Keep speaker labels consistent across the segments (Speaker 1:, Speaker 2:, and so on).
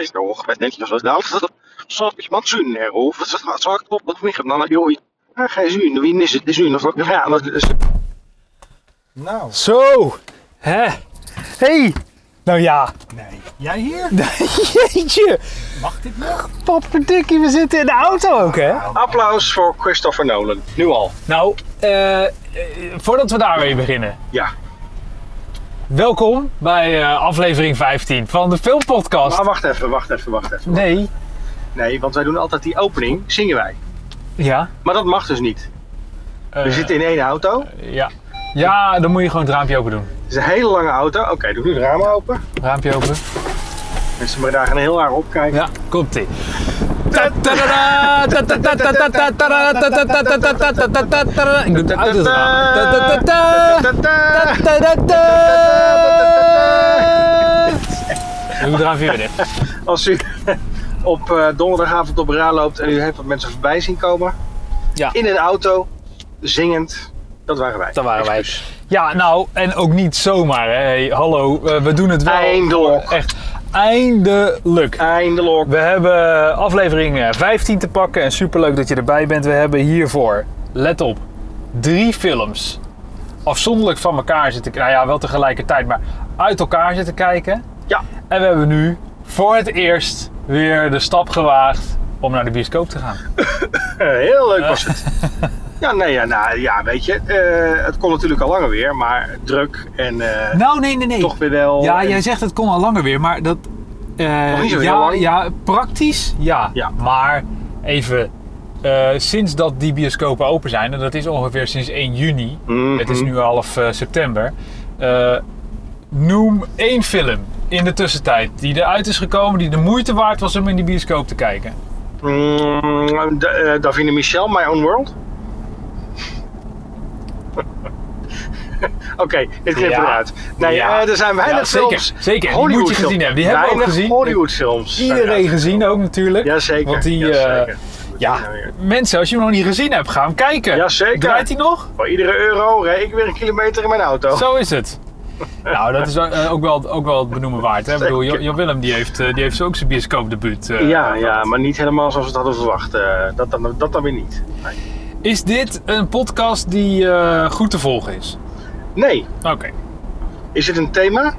Speaker 1: есть ох, понятно, создался, soort is wat zuin erover. Het gaat zwart op dat vliegen. Dan heb je ooit. Ah, geen zuin. Wie is het? De zuin of wat? Ja, dat is.
Speaker 2: Nou,
Speaker 3: Zo! Hè? Hey! Nou ja,
Speaker 2: nee. Jij hier?
Speaker 3: jeetje!
Speaker 2: Mag dit nog?
Speaker 3: Papperdikkie, we zitten in de auto ook, hè?
Speaker 1: Applaus voor Christopher Nolan. Nu al.
Speaker 3: Nou, eh, eh, voordat we daarmee beginnen.
Speaker 1: Ja.
Speaker 3: Welkom bij eh, aflevering 15 van de Filmpodcast.
Speaker 1: Maar wacht even, wacht even, wacht even.
Speaker 3: Nee,
Speaker 1: Nee, want wij doen altijd die opening, zingen wij.
Speaker 3: ja.
Speaker 1: Maar dat mag dus niet.
Speaker 3: eh,
Speaker 1: We zitten in één auto.
Speaker 3: Ja. ja, dan moet je gewoon het raampje open doen.
Speaker 1: Het is een hele lange auto. Oké, doe nu de ramen open.
Speaker 3: Raampje open.
Speaker 1: Mensen maar daar gaan heel raar opkijken.
Speaker 3: Ja, komt ie. Ik doe het uit het raam.
Speaker 1: Ta-ta!
Speaker 3: Ik moet eraan weer dicht.
Speaker 1: Als u op eh, donderdagavond op raar loopt en u heeft wat mensen voorbij zien komen.
Speaker 3: Ja.
Speaker 1: In een auto, zingend. Dat waren wij.
Speaker 3: Dat waren wij.
Speaker 1: Excuus.
Speaker 3: Ja, nou, en ook niet zomaar. Hè. Hey, hallo, eh, we doen het wel.
Speaker 1: Eindelijk.
Speaker 3: Echt, eindelijk.
Speaker 1: Eindelijk.
Speaker 3: We hebben aflevering eh, 15 te pakken en superleuk dat je erbij bent. We hebben hiervoor, let op, drie films afzonderlijk van elkaar zitten kijken. Nou ja, wel tegelijkertijd, maar uit elkaar zitten kijken.
Speaker 1: Ja.
Speaker 3: En we hebben nu voor het eerst weer de stap gewaagd om naar de bioscoop te gaan.
Speaker 1: Eh, heel leuk was het. Ja, nee, ja, nou, ja weet je, eh, het kon natuurlijk al langer weer, maar druk en eh,
Speaker 3: Nou, nee, nee, nee.
Speaker 1: toch weer wel.
Speaker 3: Ja,
Speaker 1: En-
Speaker 3: jij zegt het kon al langer weer, maar dat. eh,
Speaker 1: Nog niet zo heel
Speaker 3: ja,
Speaker 1: lang.
Speaker 3: ja, praktisch ja.
Speaker 1: Ja.
Speaker 3: Maar even, eh, sinds dat die bioscopen open zijn, en dat is ongeveer sinds 1 juni,
Speaker 1: Mhm.
Speaker 3: het is nu half eh, september. eh, noem één film in de tussentijd die eruit is gekomen, die de moeite waard was om in die bioscoop te kijken.
Speaker 1: Mm, Da- eh, Davine Michel, My Own World. Oké, dit knippen we
Speaker 3: Ja.
Speaker 1: eruit. Nee,
Speaker 3: Ja.
Speaker 1: eh, er zijn weinig
Speaker 3: Ja, zeker,
Speaker 1: films.
Speaker 3: zeker. Die
Speaker 1: Hollywood
Speaker 3: moet je gezien hebben. Die hebben we
Speaker 1: weinig
Speaker 3: ook gezien.
Speaker 1: Hollywood films.
Speaker 3: Iedereen gezien ook natuurlijk.
Speaker 1: Jazeker.
Speaker 3: Want die, eh,
Speaker 1: Jazeker. Moet je
Speaker 3: ja,
Speaker 1: nou weer-
Speaker 3: mensen, als je hem nog niet gezien hebt, ga hem kijken.
Speaker 1: Ja, zeker.
Speaker 3: Draait hij nog?
Speaker 1: Voor iedere euro rijd ik weer een kilometer in mijn auto.
Speaker 3: Zo is het. Nou, dat is eh, ook wel, ook wel het benoemen waard. Hè? Ik bedoel, Jo- Jo Willem die heeft, eh, die heeft zo ook zijn bioscoopdebuut. eh,
Speaker 1: ja, ja,
Speaker 3: gehad.
Speaker 1: maar niet helemaal zoals we het hadden verwacht. eh, dat, dan, dat dan weer niet. Nee.
Speaker 3: Is dit een podcast die eh, goed te volgen is?
Speaker 1: nee.
Speaker 3: Oké.
Speaker 1: Is het een thema?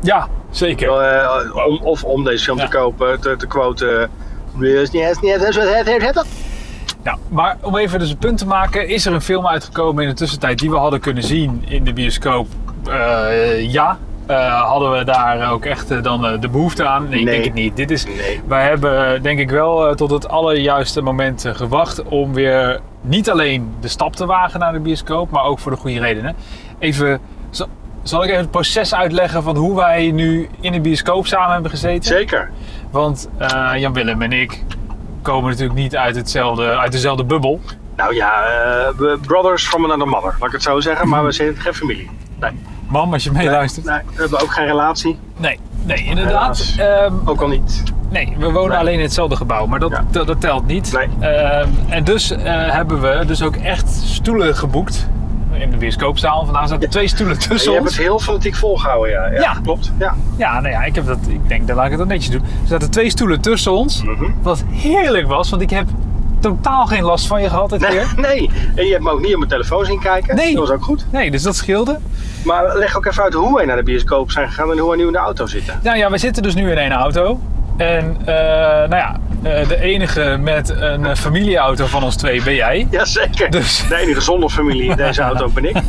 Speaker 3: Ja, zeker.
Speaker 1: Eh, om, of om deze film
Speaker 3: Ja.
Speaker 1: te kopen, te, te quoten. Yes, yes, yes, yes, yes, yes, yes, yes.
Speaker 3: Nou, maar om even dus een punt te maken. Is er een film uitgekomen in de tussentijd die we hadden kunnen zien in de bioscoop? Eh, ja. Eh, hadden we daar ook echt eh, dan eh, de behoefte aan? Nee, ik
Speaker 1: Nee.
Speaker 3: denk het niet. Dit is,
Speaker 1: Nee.
Speaker 3: Wij hebben eh, denk ik wel eh, tot het allerjuiste moment eh, gewacht om weer niet alleen de stap te wagen naar de bioscoop, maar ook voor de goede redenen. Even, zal, zal ik even het proces uitleggen van hoe wij nu in de bioscoop samen hebben gezeten?
Speaker 1: Zeker.
Speaker 3: Want eh, Jan-Willem en ik komen natuurlijk niet uit, hetzelfde, uit dezelfde bubbel.
Speaker 1: Nou ja, eh, we brothers from another mother, laat ik het zo zeggen. Maar we zijn geen familie. Nee,
Speaker 3: Mam, als je meeluistert.
Speaker 1: nee, we hebben ook geen relatie.
Speaker 3: Nee, nee, inderdaad.
Speaker 1: Helaas.
Speaker 3: Ehm,
Speaker 1: Ook al niet.
Speaker 3: Nee, we wonen
Speaker 1: Nee.
Speaker 3: alleen in hetzelfde gebouw, maar dat,
Speaker 1: Ja.
Speaker 3: dat, dat telt niet.
Speaker 1: Nee.
Speaker 3: Ehm, en dus eh, hebben we dus ook echt stoelen geboekt in de bioscoopzaal. Vandaag zaten twee stoelen
Speaker 1: Je
Speaker 3: tussen
Speaker 1: hebt
Speaker 3: ons.
Speaker 1: het heel fanatiek volgehouden, ja. Ja,
Speaker 3: Ja.
Speaker 1: klopt. Ja.
Speaker 3: Ja, nou ja, ik, heb dat, ik denk, dan laat ik het dan netjes doen. Er zaten twee stoelen tussen ons,
Speaker 1: Mhm.
Speaker 3: wat heerlijk was, want ik heb totaal geen last van je gehad dit
Speaker 1: Nee,
Speaker 3: keer.
Speaker 1: nee, en je hebt me ook niet op mijn telefoon zien kijken.
Speaker 3: Nee.
Speaker 1: Dat was ook goed.
Speaker 3: Nee, dus dat scheelde.
Speaker 1: Maar leg ook even uit hoe wij naar de bioscoop zijn gegaan en hoe wij nu in de auto zitten.
Speaker 3: Nou ja, we zitten dus nu in één auto. En eh, nou ja, eh, de enige met een eh, familieauto van ons twee ben jij.
Speaker 1: Jazeker.
Speaker 3: Dus-
Speaker 1: De enige zonder familie in deze auto ben ik.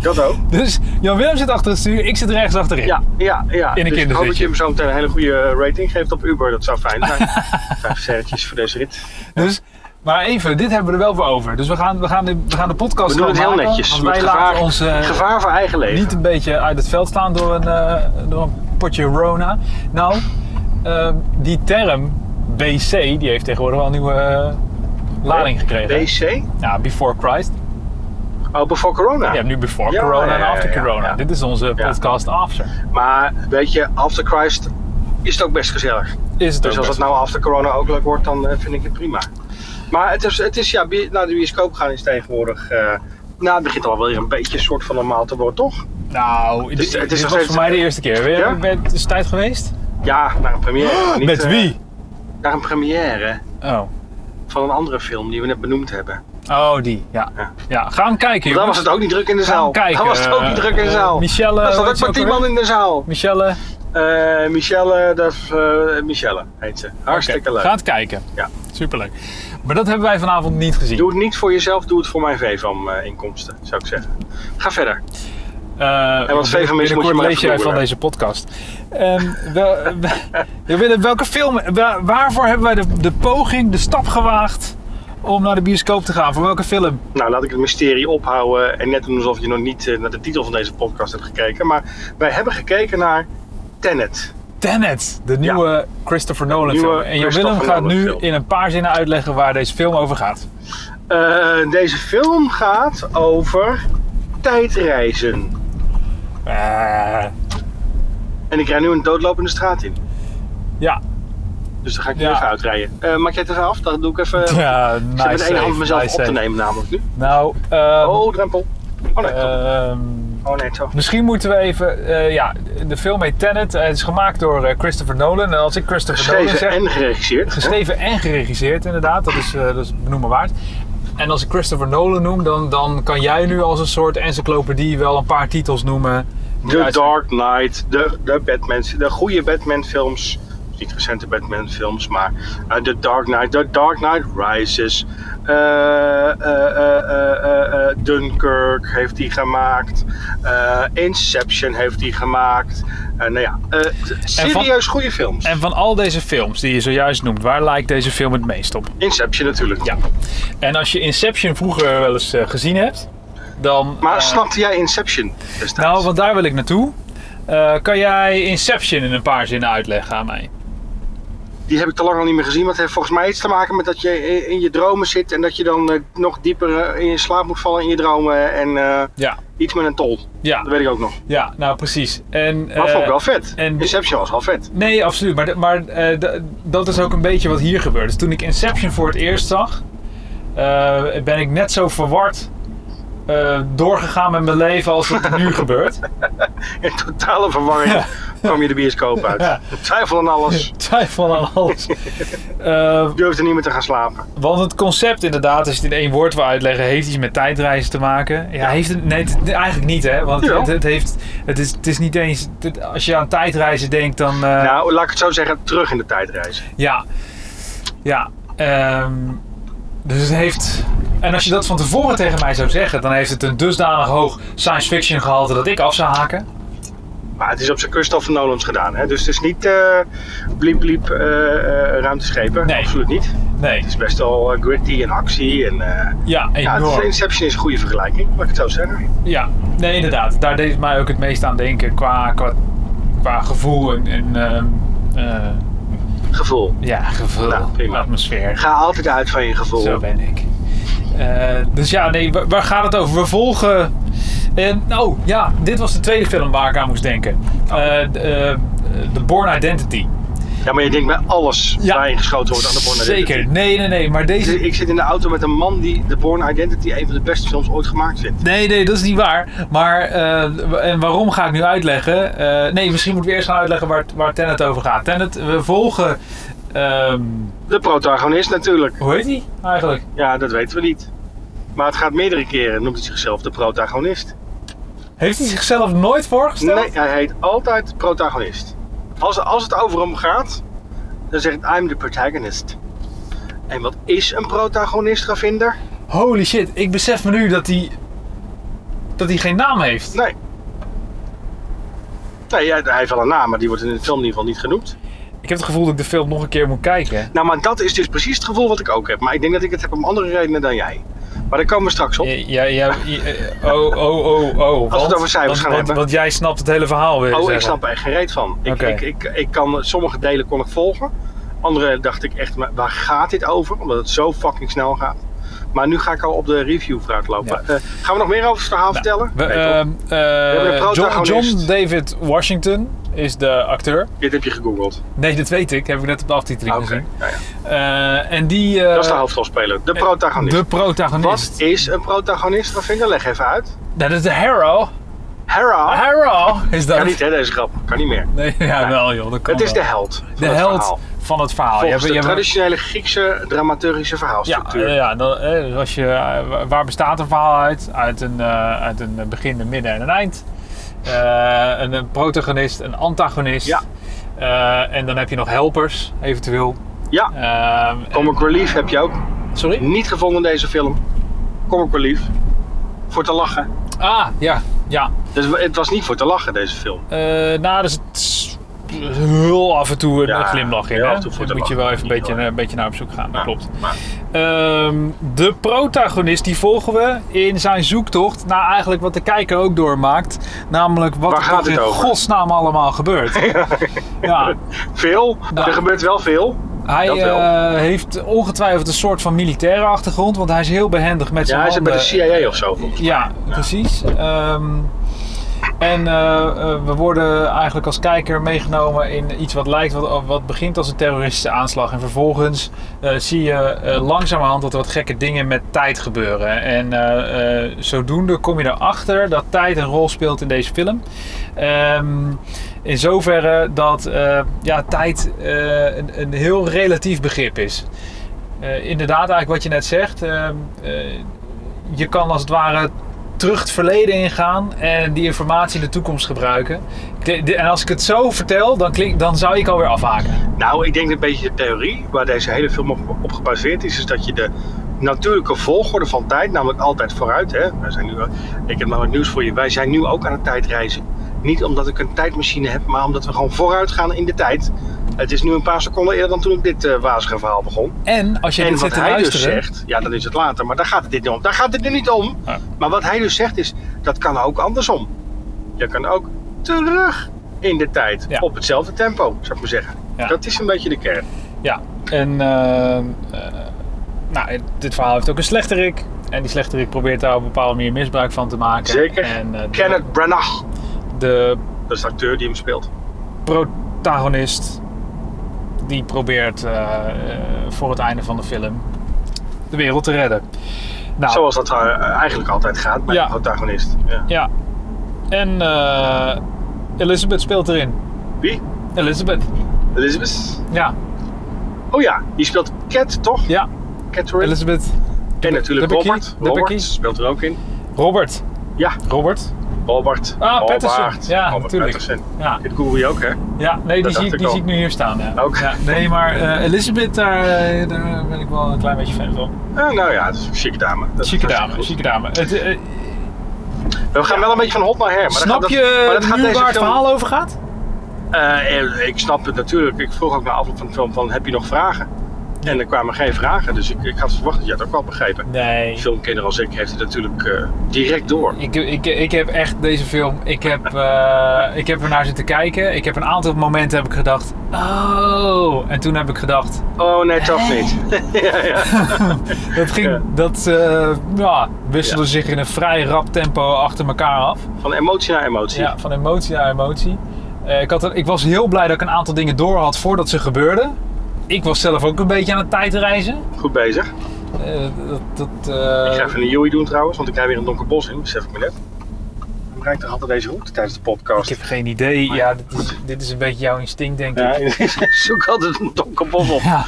Speaker 1: Dat ook.
Speaker 3: Dus Jan-Willem zit achter het stuur, ik zit rechts achterin.
Speaker 1: Ja, ja, ja.
Speaker 3: In een
Speaker 1: dus ik hoop dat
Speaker 3: kinderzitje.
Speaker 1: je hem zo meteen een hele goede rating geeft op Uber. Dat zou fijn zijn. Vijf sterretjes voor deze rit.
Speaker 3: Dus, maar even, dit hebben we er wel voor over. Dus we gaan, we gaan, de, we gaan de podcast
Speaker 1: We doen het
Speaker 3: gewoon
Speaker 1: heel
Speaker 3: maken,
Speaker 1: netjes.
Speaker 3: Want
Speaker 1: Met
Speaker 3: wij
Speaker 1: gevaar,
Speaker 3: laten ons eh,
Speaker 1: gevaar voor eigen leven.
Speaker 3: niet een beetje uit het veld slaan door een, eh, door een potje Rona. Nou, eh, die term BC, die heeft tegenwoordig wel een nieuwe eh, lading gekregen.
Speaker 1: BC?
Speaker 3: Ja, Before Christ.
Speaker 1: Open voor Oh, corona.
Speaker 3: Je hebt nu Before
Speaker 1: Ja,
Speaker 3: Corona
Speaker 1: ja,
Speaker 3: en
Speaker 1: ja,
Speaker 3: After
Speaker 1: ja,
Speaker 3: Corona.
Speaker 1: ja.
Speaker 3: Dit is onze
Speaker 1: Ja.
Speaker 3: podcast After.
Speaker 1: Maar weet je, after Christ is het ook best gezellig.
Speaker 3: Is het
Speaker 1: Dus
Speaker 3: ook
Speaker 1: als het
Speaker 3: best.
Speaker 1: nou after corona ook leuk wordt, dan eh, vind ik het prima. Maar het is, het is ja, nou, bi- naar de bioscoop gaan is tegenwoordig... eh, nou, het begint al wel weer een beetje een soort van normaal te worden, toch?
Speaker 3: Nou, dit,
Speaker 1: is- het is
Speaker 3: dit
Speaker 1: nog
Speaker 3: was
Speaker 1: steeds-
Speaker 3: voor mij de eerste keer. Ben je
Speaker 1: Ja?
Speaker 3: ben- is het tijd geweest?
Speaker 1: Ja, naar een première. niet,
Speaker 3: Met
Speaker 1: eh,
Speaker 3: wie?
Speaker 1: naar een première
Speaker 3: Oh.
Speaker 1: van een andere film die we net benoemd hebben.
Speaker 3: Oh, die. Ja.
Speaker 1: Ja.
Speaker 3: ja. Ga hem kijken,
Speaker 1: Dan
Speaker 3: jongens.
Speaker 1: was het ook niet druk in de
Speaker 3: Ga hem
Speaker 1: zaal.
Speaker 3: kijken.
Speaker 1: Dan was het ook
Speaker 3: eh,
Speaker 1: niet druk in de
Speaker 3: eh,
Speaker 1: zaal.
Speaker 3: Michelle.
Speaker 1: Er zat
Speaker 3: hoe
Speaker 1: ook
Speaker 3: heet
Speaker 1: maar
Speaker 3: ze
Speaker 1: tien
Speaker 3: ook
Speaker 1: man
Speaker 3: alweer?
Speaker 1: in de zaal.
Speaker 3: Michelle.
Speaker 1: Eh, Michelle, dat is, eh, Michelle heet ze. Hartstikke
Speaker 3: Oké,
Speaker 1: leuk.
Speaker 3: Ga het kijken.
Speaker 1: Ja.
Speaker 3: Superleuk. Maar dat hebben wij vanavond niet gezien.
Speaker 1: Doe het niet voor jezelf, doe het voor mijn VVAM-inkomsten, zou ik zeggen. Ga verder.
Speaker 3: Eh,
Speaker 1: En wat VVM's moet je
Speaker 3: binnenkort
Speaker 1: maar
Speaker 3: lees jij
Speaker 1: even
Speaker 3: van
Speaker 1: googlen.
Speaker 3: deze podcast. Ehm, wel- we willen- welke film, wa- waarvoor hebben wij de, de poging, de stap gewaagd om naar de bioscoop te gaan? Voor welke film?
Speaker 1: Nou, laat ik het mysterie ophouden en net doen alsof je nog niet eh, naar de titel van deze podcast hebt gekeken. Maar wij hebben gekeken naar Tenet.
Speaker 3: Tenet, de nieuwe Christopher Nolan
Speaker 1: Nieuwe
Speaker 3: film. En Jan Willem
Speaker 1: Christopher
Speaker 3: gaat
Speaker 1: Nolan
Speaker 3: nu
Speaker 1: film.
Speaker 3: in een paar zinnen uitleggen waar deze film over gaat.
Speaker 1: Eh, deze film gaat over tijdreizen.
Speaker 3: Eh,
Speaker 1: En ik rij nu een doodlopende straat in.
Speaker 3: ja,
Speaker 1: Dus daar ga ik nu
Speaker 3: Ja.
Speaker 1: even uitrijden. Eh, maak jij het even af? Dan doe ik even...
Speaker 3: ja
Speaker 1: Eh, ik zit
Speaker 3: nice
Speaker 1: met de ene
Speaker 3: save,
Speaker 1: hand mezelf
Speaker 3: nice
Speaker 1: op te
Speaker 3: save.
Speaker 1: nemen namelijk nu.
Speaker 3: Nou, ehm,
Speaker 1: Oh, drempel. Oh nee, zo.
Speaker 3: ehm,
Speaker 1: oh, nee zo.
Speaker 3: Misschien moeten we even, eh, ja, de film heet Tenet. Eh, het is gemaakt door eh, Christopher Nolan. En als ik Christopher Nolan
Speaker 1: Geschreven
Speaker 3: zeg,
Speaker 1: en geregisseerd.
Speaker 3: geschreven en geregisseerd inderdaad, dat is, eh dat is benoemen waard. En als ik Christopher Nolan noem, dan, dan kan jij nu als een soort encyclopedie wel een paar titels noemen. die
Speaker 1: De
Speaker 3: uit-
Speaker 1: Dark Knight, de, de Batman, de goede Batman films. Niet recente Batman films, maar eh, The Dark Knight, The Dark Knight Rises. eh, eh, eh, eh, eh, eh, Dunkirk heeft hij gemaakt. eh, Inception heeft hij gemaakt. Eh, nou ja, eh, serieus goede films.
Speaker 3: En van al deze films die je zojuist noemt, waar lijkt deze film het meest op?
Speaker 1: Inception natuurlijk.
Speaker 3: Ja. En als je Inception vroeger wel eens eh, gezien hebt, dan...
Speaker 1: Maar
Speaker 3: eh,
Speaker 1: snapte jij Inception destijds?
Speaker 3: Nou, want daar wil ik naartoe. Eh, kan jij Inception in een paar zinnen uitleggen aan mij?
Speaker 1: Die heb ik te lang al niet meer gezien. Want het heeft volgens mij iets te maken met dat je in- in je dromen zit. En dat je dan eh, nog dieper eh, in je slaap moet vallen in je dromen. En eh,
Speaker 3: Ja.
Speaker 1: iets met een tol.
Speaker 3: Ja,
Speaker 1: Dat weet ik ook nog.
Speaker 3: Ja, nou precies. En,
Speaker 1: Maar
Speaker 3: eh,
Speaker 1: vond ik wel vet.
Speaker 3: en-
Speaker 1: Inception was wel vet.
Speaker 3: Nee, absoluut. Maar, de- maar eh, d- dat is ook een beetje wat hier gebeurt. Dus toen ik Inception voor het eerst zag, eh, ben ik net zo verward eh, doorgegaan met mijn leven als het nu gebeurt.
Speaker 1: In totale verwarring kwam je de bioscoop uit.
Speaker 3: Ja.
Speaker 1: Twijfel aan alles.
Speaker 3: Twijfel aan alles. Eh,
Speaker 1: Durfde niet meer te gaan slapen.
Speaker 3: want het concept inderdaad, als je het in één woord wil uitleggen, heeft iets met tijdreizen te maken. Ja, heeft het, nee, het- eigenlijk niet hè. Want het,
Speaker 1: Jawel.
Speaker 3: het, heeft, het, is, het is niet eens, het- als je aan tijdreizen denkt dan... eh,
Speaker 1: Nou, laat ik het zo zeggen. Terug in de tijd reizen.
Speaker 3: Ja. Ja. ehm, dus het heeft... En als je dat van tevoren tegen mij zou zeggen, dan heeft het een dusdanig hoog science fiction gehalte dat ik af zou haken.
Speaker 1: Maar het is op zijn Christopher Nolan's gedaan. Hè? Dus het is niet eh bliep bliep eh eh, ruimteschepen.
Speaker 3: Nee.
Speaker 1: Absoluut niet.
Speaker 3: Nee.
Speaker 1: Het is best wel eh, gritty en actie. En, eh,
Speaker 3: Ja,
Speaker 1: ja, het
Speaker 3: enorm.
Speaker 1: is- Inception is een goede vergelijking. Laat ik het zo zeggen.
Speaker 3: Ja, nee, inderdaad. Daar deed het mij ook het meest aan denken qua, qua, qua gevoel en, en ehm, eh,
Speaker 1: Gevoel.
Speaker 3: ja, gevoel,
Speaker 1: Nou, prima.
Speaker 3: atmosfeer.
Speaker 1: Ga altijd uit van je gevoel.
Speaker 3: Zo ben ik. Eh, dus ja, nee, waar, waar gaat het over? We volgen. En, oh ja, dit was de tweede film waar ik aan moest denken:
Speaker 1: Oh.
Speaker 3: Eh, d- eh, The Born Identity.
Speaker 1: Ja, maar je denkt bij alles
Speaker 3: Ja.
Speaker 1: waar je geschoten wordt aan de Born Identity.
Speaker 3: Zeker, nee, nee, nee, maar
Speaker 1: Dus
Speaker 3: deze.
Speaker 1: Ik zit in de auto met een man die de Born Identity een van de beste films ooit gemaakt vindt.
Speaker 3: Nee, nee, dat is niet waar. Maar, eh, wa- en waarom ga ik nu uitleggen? Eh, nee, misschien moeten we eerst gaan uitleggen waar, waar Tenet over gaat. Tenet, we volgen. ehm,
Speaker 1: De protagonist natuurlijk.
Speaker 3: hoe heet die eigenlijk?
Speaker 1: Ja, dat weten we niet. Maar het gaat meerdere keren, noemt hij zichzelf de protagonist.
Speaker 3: Heeft hij zichzelf nooit voorgesteld?
Speaker 1: Nee, hij heet altijd protagonist. Als, als het over hem gaat, dan zegt hij, I'm the protagonist. En wat is een protagonist, Ravinder?
Speaker 3: Holy shit, ik besef me nu dat hij. dat hij geen naam heeft.
Speaker 1: Nee. Nee, hij hij heeft wel een naam, maar die wordt in de film in ieder geval niet genoemd.
Speaker 3: Ik heb het gevoel dat ik de film nog een keer moet kijken.
Speaker 1: Nou, maar dat is dus precies het gevoel wat ik ook heb. Maar ik denk dat ik het heb om andere redenen dan jij. Maar daar komen we straks op.
Speaker 3: Ja, ja, ja, oh, oh, oh, oh.
Speaker 1: Als we het over cijfers
Speaker 3: want,
Speaker 1: gaan
Speaker 3: want,
Speaker 1: hebben.
Speaker 3: Want jij snapt het hele verhaal weer.
Speaker 1: Oh, ik snap er echt geen reet van. Ik,
Speaker 3: Oké.
Speaker 1: ik, ik, ik kan, sommige delen kon ik volgen. Andere dacht ik echt, maar waar gaat dit over? Omdat het zo fucking snel gaat. Maar nu ga ik al op de review vooruitlopen. Eh, gaan we nog meer over het verhaal vertellen?
Speaker 3: Nou, We,
Speaker 1: Nee, toch?
Speaker 3: ehm, eh,
Speaker 1: hebben een
Speaker 3: John, John
Speaker 1: protagonist.
Speaker 3: David Washington is de acteur.
Speaker 1: Dit heb je gegoogeld.
Speaker 3: Nee, dat weet ik. Heb ik net op de aftiteling
Speaker 1: Oké.
Speaker 3: gezien.
Speaker 1: Nou ja,
Speaker 3: Eh, en die... eh,
Speaker 1: dat is de dus. hoofdrolspeler. De protagonist.
Speaker 3: De protagonist.
Speaker 1: Wat is een protagonist? Ravinder, leg even uit.
Speaker 3: Dat is de hero.
Speaker 1: Hera.
Speaker 3: Hera is dat.
Speaker 1: Kan Ah. niet, hè, deze grap. Kan niet meer.
Speaker 3: Nee, ja, wel joh. Dat kan
Speaker 1: Het is de
Speaker 3: wel.
Speaker 1: held. van
Speaker 3: De
Speaker 1: het
Speaker 3: held
Speaker 1: verhaal.
Speaker 3: van het verhaal.
Speaker 1: Volgens
Speaker 3: Je hebt- je
Speaker 1: de
Speaker 3: hebt-
Speaker 1: traditionele Griekse dramaturgische
Speaker 3: ja,
Speaker 1: verhaalstructuur.
Speaker 3: eh, ja dan, eh, dus als je, eh, wa- waar bestaat een verhaal uit? Uit een, eh, uit een begin, een midden en een eind. Eh, een, een protagonist, een antagonist.
Speaker 1: Ja.
Speaker 3: Eh, en dan heb je nog helpers, eventueel.
Speaker 1: Ja.
Speaker 3: Ehm, en-
Speaker 1: Comic Relief heb je ook
Speaker 3: sorry?
Speaker 1: niet gevonden in deze film. Comic Relief. Voor te lachen.
Speaker 3: Ah, ja. ja.
Speaker 1: Dus het was niet voor te lachen, deze film.
Speaker 3: Eh, nou, dus het is heel af en toe een
Speaker 1: Ja,
Speaker 3: glimlach in.
Speaker 1: heel
Speaker 3: hè?
Speaker 1: af en toe voor
Speaker 3: Daar
Speaker 1: te
Speaker 3: moet je wel
Speaker 1: lachen.
Speaker 3: even een beetje,
Speaker 1: Ja.
Speaker 3: een beetje naar op zoek gaan. Dat
Speaker 1: Ja.
Speaker 3: klopt.
Speaker 1: Maar
Speaker 3: Ehm, de protagonist die volgen we in zijn zoektocht naar eigenlijk wat de kijker ook doormaakt. Namelijk wat
Speaker 1: Waar
Speaker 3: er
Speaker 1: gaat
Speaker 3: toch in
Speaker 1: het over?
Speaker 3: godsnaam allemaal gebeurt. ja,
Speaker 1: veel.
Speaker 3: Nou.
Speaker 1: Er gebeurt wel veel.
Speaker 3: hij
Speaker 1: Dat wel.
Speaker 3: eh, heeft ongetwijfeld een soort van militaire achtergrond, want hij is heel behendig met zijn
Speaker 1: Ja, hij zit bij de
Speaker 3: handen.
Speaker 1: CIA of zo. volgens mij.
Speaker 3: Ja, precies. Ehm, en eh, eh, we worden eigenlijk als kijker meegenomen in iets wat lijkt, wat, oh, wat begint als een terroristische aanslag. En vervolgens eh, zie je eh, langzamerhand dat er wat gekke dingen met tijd gebeuren. En eh, eh, zodoende kom je erachter dat tijd een rol speelt in deze film. Ehm, in zoverre dat eh, ja, tijd eh, een, een heel relatief begrip is. Eh, inderdaad, eigenlijk wat je net zegt. ehm, eh, je kan als het ware terug het verleden ingaan en die informatie in de toekomst gebruiken. De- de- En als ik het zo vertel, dan, klink, dan zou ik alweer afhaken.
Speaker 1: Nou, ik denk dat een beetje de theorie waar deze hele film op, op gebaseerd is, is dat je de natuurlijke volgorde van tijd, namelijk altijd vooruit. Hè? Wij zijn nu, wel- ik heb namelijk nieuws voor je. Wij zijn nu ook aan het tijdreizen. Niet omdat ik een tijdmachine heb, maar omdat we gewoon vooruit gaan in de tijd. Het is nu een paar seconden eerder dan toen ik dit eh wazige verhaal begon.
Speaker 3: En als je
Speaker 1: en
Speaker 3: dit
Speaker 1: wat
Speaker 3: zit te
Speaker 1: hij dus
Speaker 3: luisteren...
Speaker 1: zegt, ja, dan is het later, maar daar gaat het dit niet om. Daar gaat het er niet om.
Speaker 3: Ja.
Speaker 1: Maar wat hij dus zegt is, dat kan ook andersom. Je kan ook terug in de tijd,
Speaker 3: Ja.
Speaker 1: op hetzelfde tempo, zou ik maar zeggen.
Speaker 3: Ja.
Speaker 1: Dat is een beetje de kern.
Speaker 3: Ja, en eh, eh, nou, dit verhaal heeft ook een slechterik. En die slechterik probeert daar op een bepaalde manier misbruik van te maken.
Speaker 1: Zeker.
Speaker 3: En eh, de,
Speaker 1: Kenneth Branagh,
Speaker 3: de
Speaker 1: dat is de acteur die hem speelt.
Speaker 3: protagonist die probeert eh, eh, voor het einde van de film de wereld te redden. Nou,
Speaker 1: Zoals dat eh, eigenlijk altijd gaat bij
Speaker 3: Ja.
Speaker 1: de protagonist. Ja.
Speaker 3: Ja. En eh Elizabeth speelt erin.
Speaker 1: Wie?
Speaker 3: Elizabeth.
Speaker 1: Elizabeth?
Speaker 3: Ja.
Speaker 1: Oh ja, die speelt Cat, toch?
Speaker 3: Ja.
Speaker 1: Catherine.
Speaker 3: Elizabeth.
Speaker 1: en natuurlijk
Speaker 3: Debicki.
Speaker 1: Robert.
Speaker 3: Debicki.
Speaker 1: Robert speelt er ook in.
Speaker 3: Robert.
Speaker 1: Ja,
Speaker 3: Robert.
Speaker 1: Robert.
Speaker 3: Ah,
Speaker 1: Robert.
Speaker 3: Patterson. Ja,
Speaker 1: Robert
Speaker 3: natuurlijk.
Speaker 1: Patterson.
Speaker 3: Ja.
Speaker 1: Dit Koeri ook, hè?
Speaker 3: Ja, nee, die,
Speaker 1: dacht
Speaker 3: zie, ik-
Speaker 1: ik
Speaker 3: die
Speaker 1: al. Oh.
Speaker 3: zie ik nu hier staan. Ja.
Speaker 1: Ook.
Speaker 3: Ja, nee, maar eh, Elizabeth, daar, eh, daar ben ik wel een klein beetje fan van.
Speaker 1: Ah, nou ja, het is een chique dame. Dat is
Speaker 3: Chique
Speaker 1: hartstikke
Speaker 3: dame,
Speaker 1: goed.
Speaker 3: chique dame. Het, eh,
Speaker 1: We gaan wel een beetje van hot naar her. Maar
Speaker 3: snap
Speaker 1: dat, gaat-
Speaker 3: je
Speaker 1: maar dat gaat
Speaker 3: nu
Speaker 1: deze
Speaker 3: waar het
Speaker 1: film-
Speaker 3: verhaal over gaat?
Speaker 1: Eh, ik snap het natuurlijk. Ik vroeg ook na afloop van de film van, heb je nog vragen? En er kwamen geen vragen, dus ik, ik had verwacht dat jij het ook wel begrepen.
Speaker 3: Nee.
Speaker 1: filmkenner als ik heeft het natuurlijk eh, direct door.
Speaker 3: Ik, ik, ik heb echt deze film, ik heb, eh ik heb er naar zitten kijken. Ik heb een aantal momenten heb ik gedacht, oh. En toen heb ik gedacht,
Speaker 1: Oh nee, toch niet. ja, ja.
Speaker 3: Dat ging,
Speaker 1: Ja.
Speaker 3: dat eh, ja, wisselde
Speaker 1: Ja.
Speaker 3: zich in een vrij rap tempo achter elkaar af.
Speaker 1: Van emotie naar emotie.
Speaker 3: Ja, van emotie naar emotie. Eh, ik, had er- ik was heel blij dat ik een aantal dingen door had voordat ze gebeurden. Ik was zelf ook een beetje aan het tijdreizen.
Speaker 1: Goed bezig.
Speaker 3: Eh, dat, dat, eh,
Speaker 1: Ik ga even een joey doen trouwens, want ik rij weer een donker bos in, besef ik me net. Hoe rijdt er altijd deze route tijdens de
Speaker 3: ik
Speaker 1: podcast?
Speaker 3: heb geen idee. Ja, dit is, dit is een beetje jouw instinct, denk ik.
Speaker 1: Ja, ik zoek altijd een donker bos op.
Speaker 3: Ja,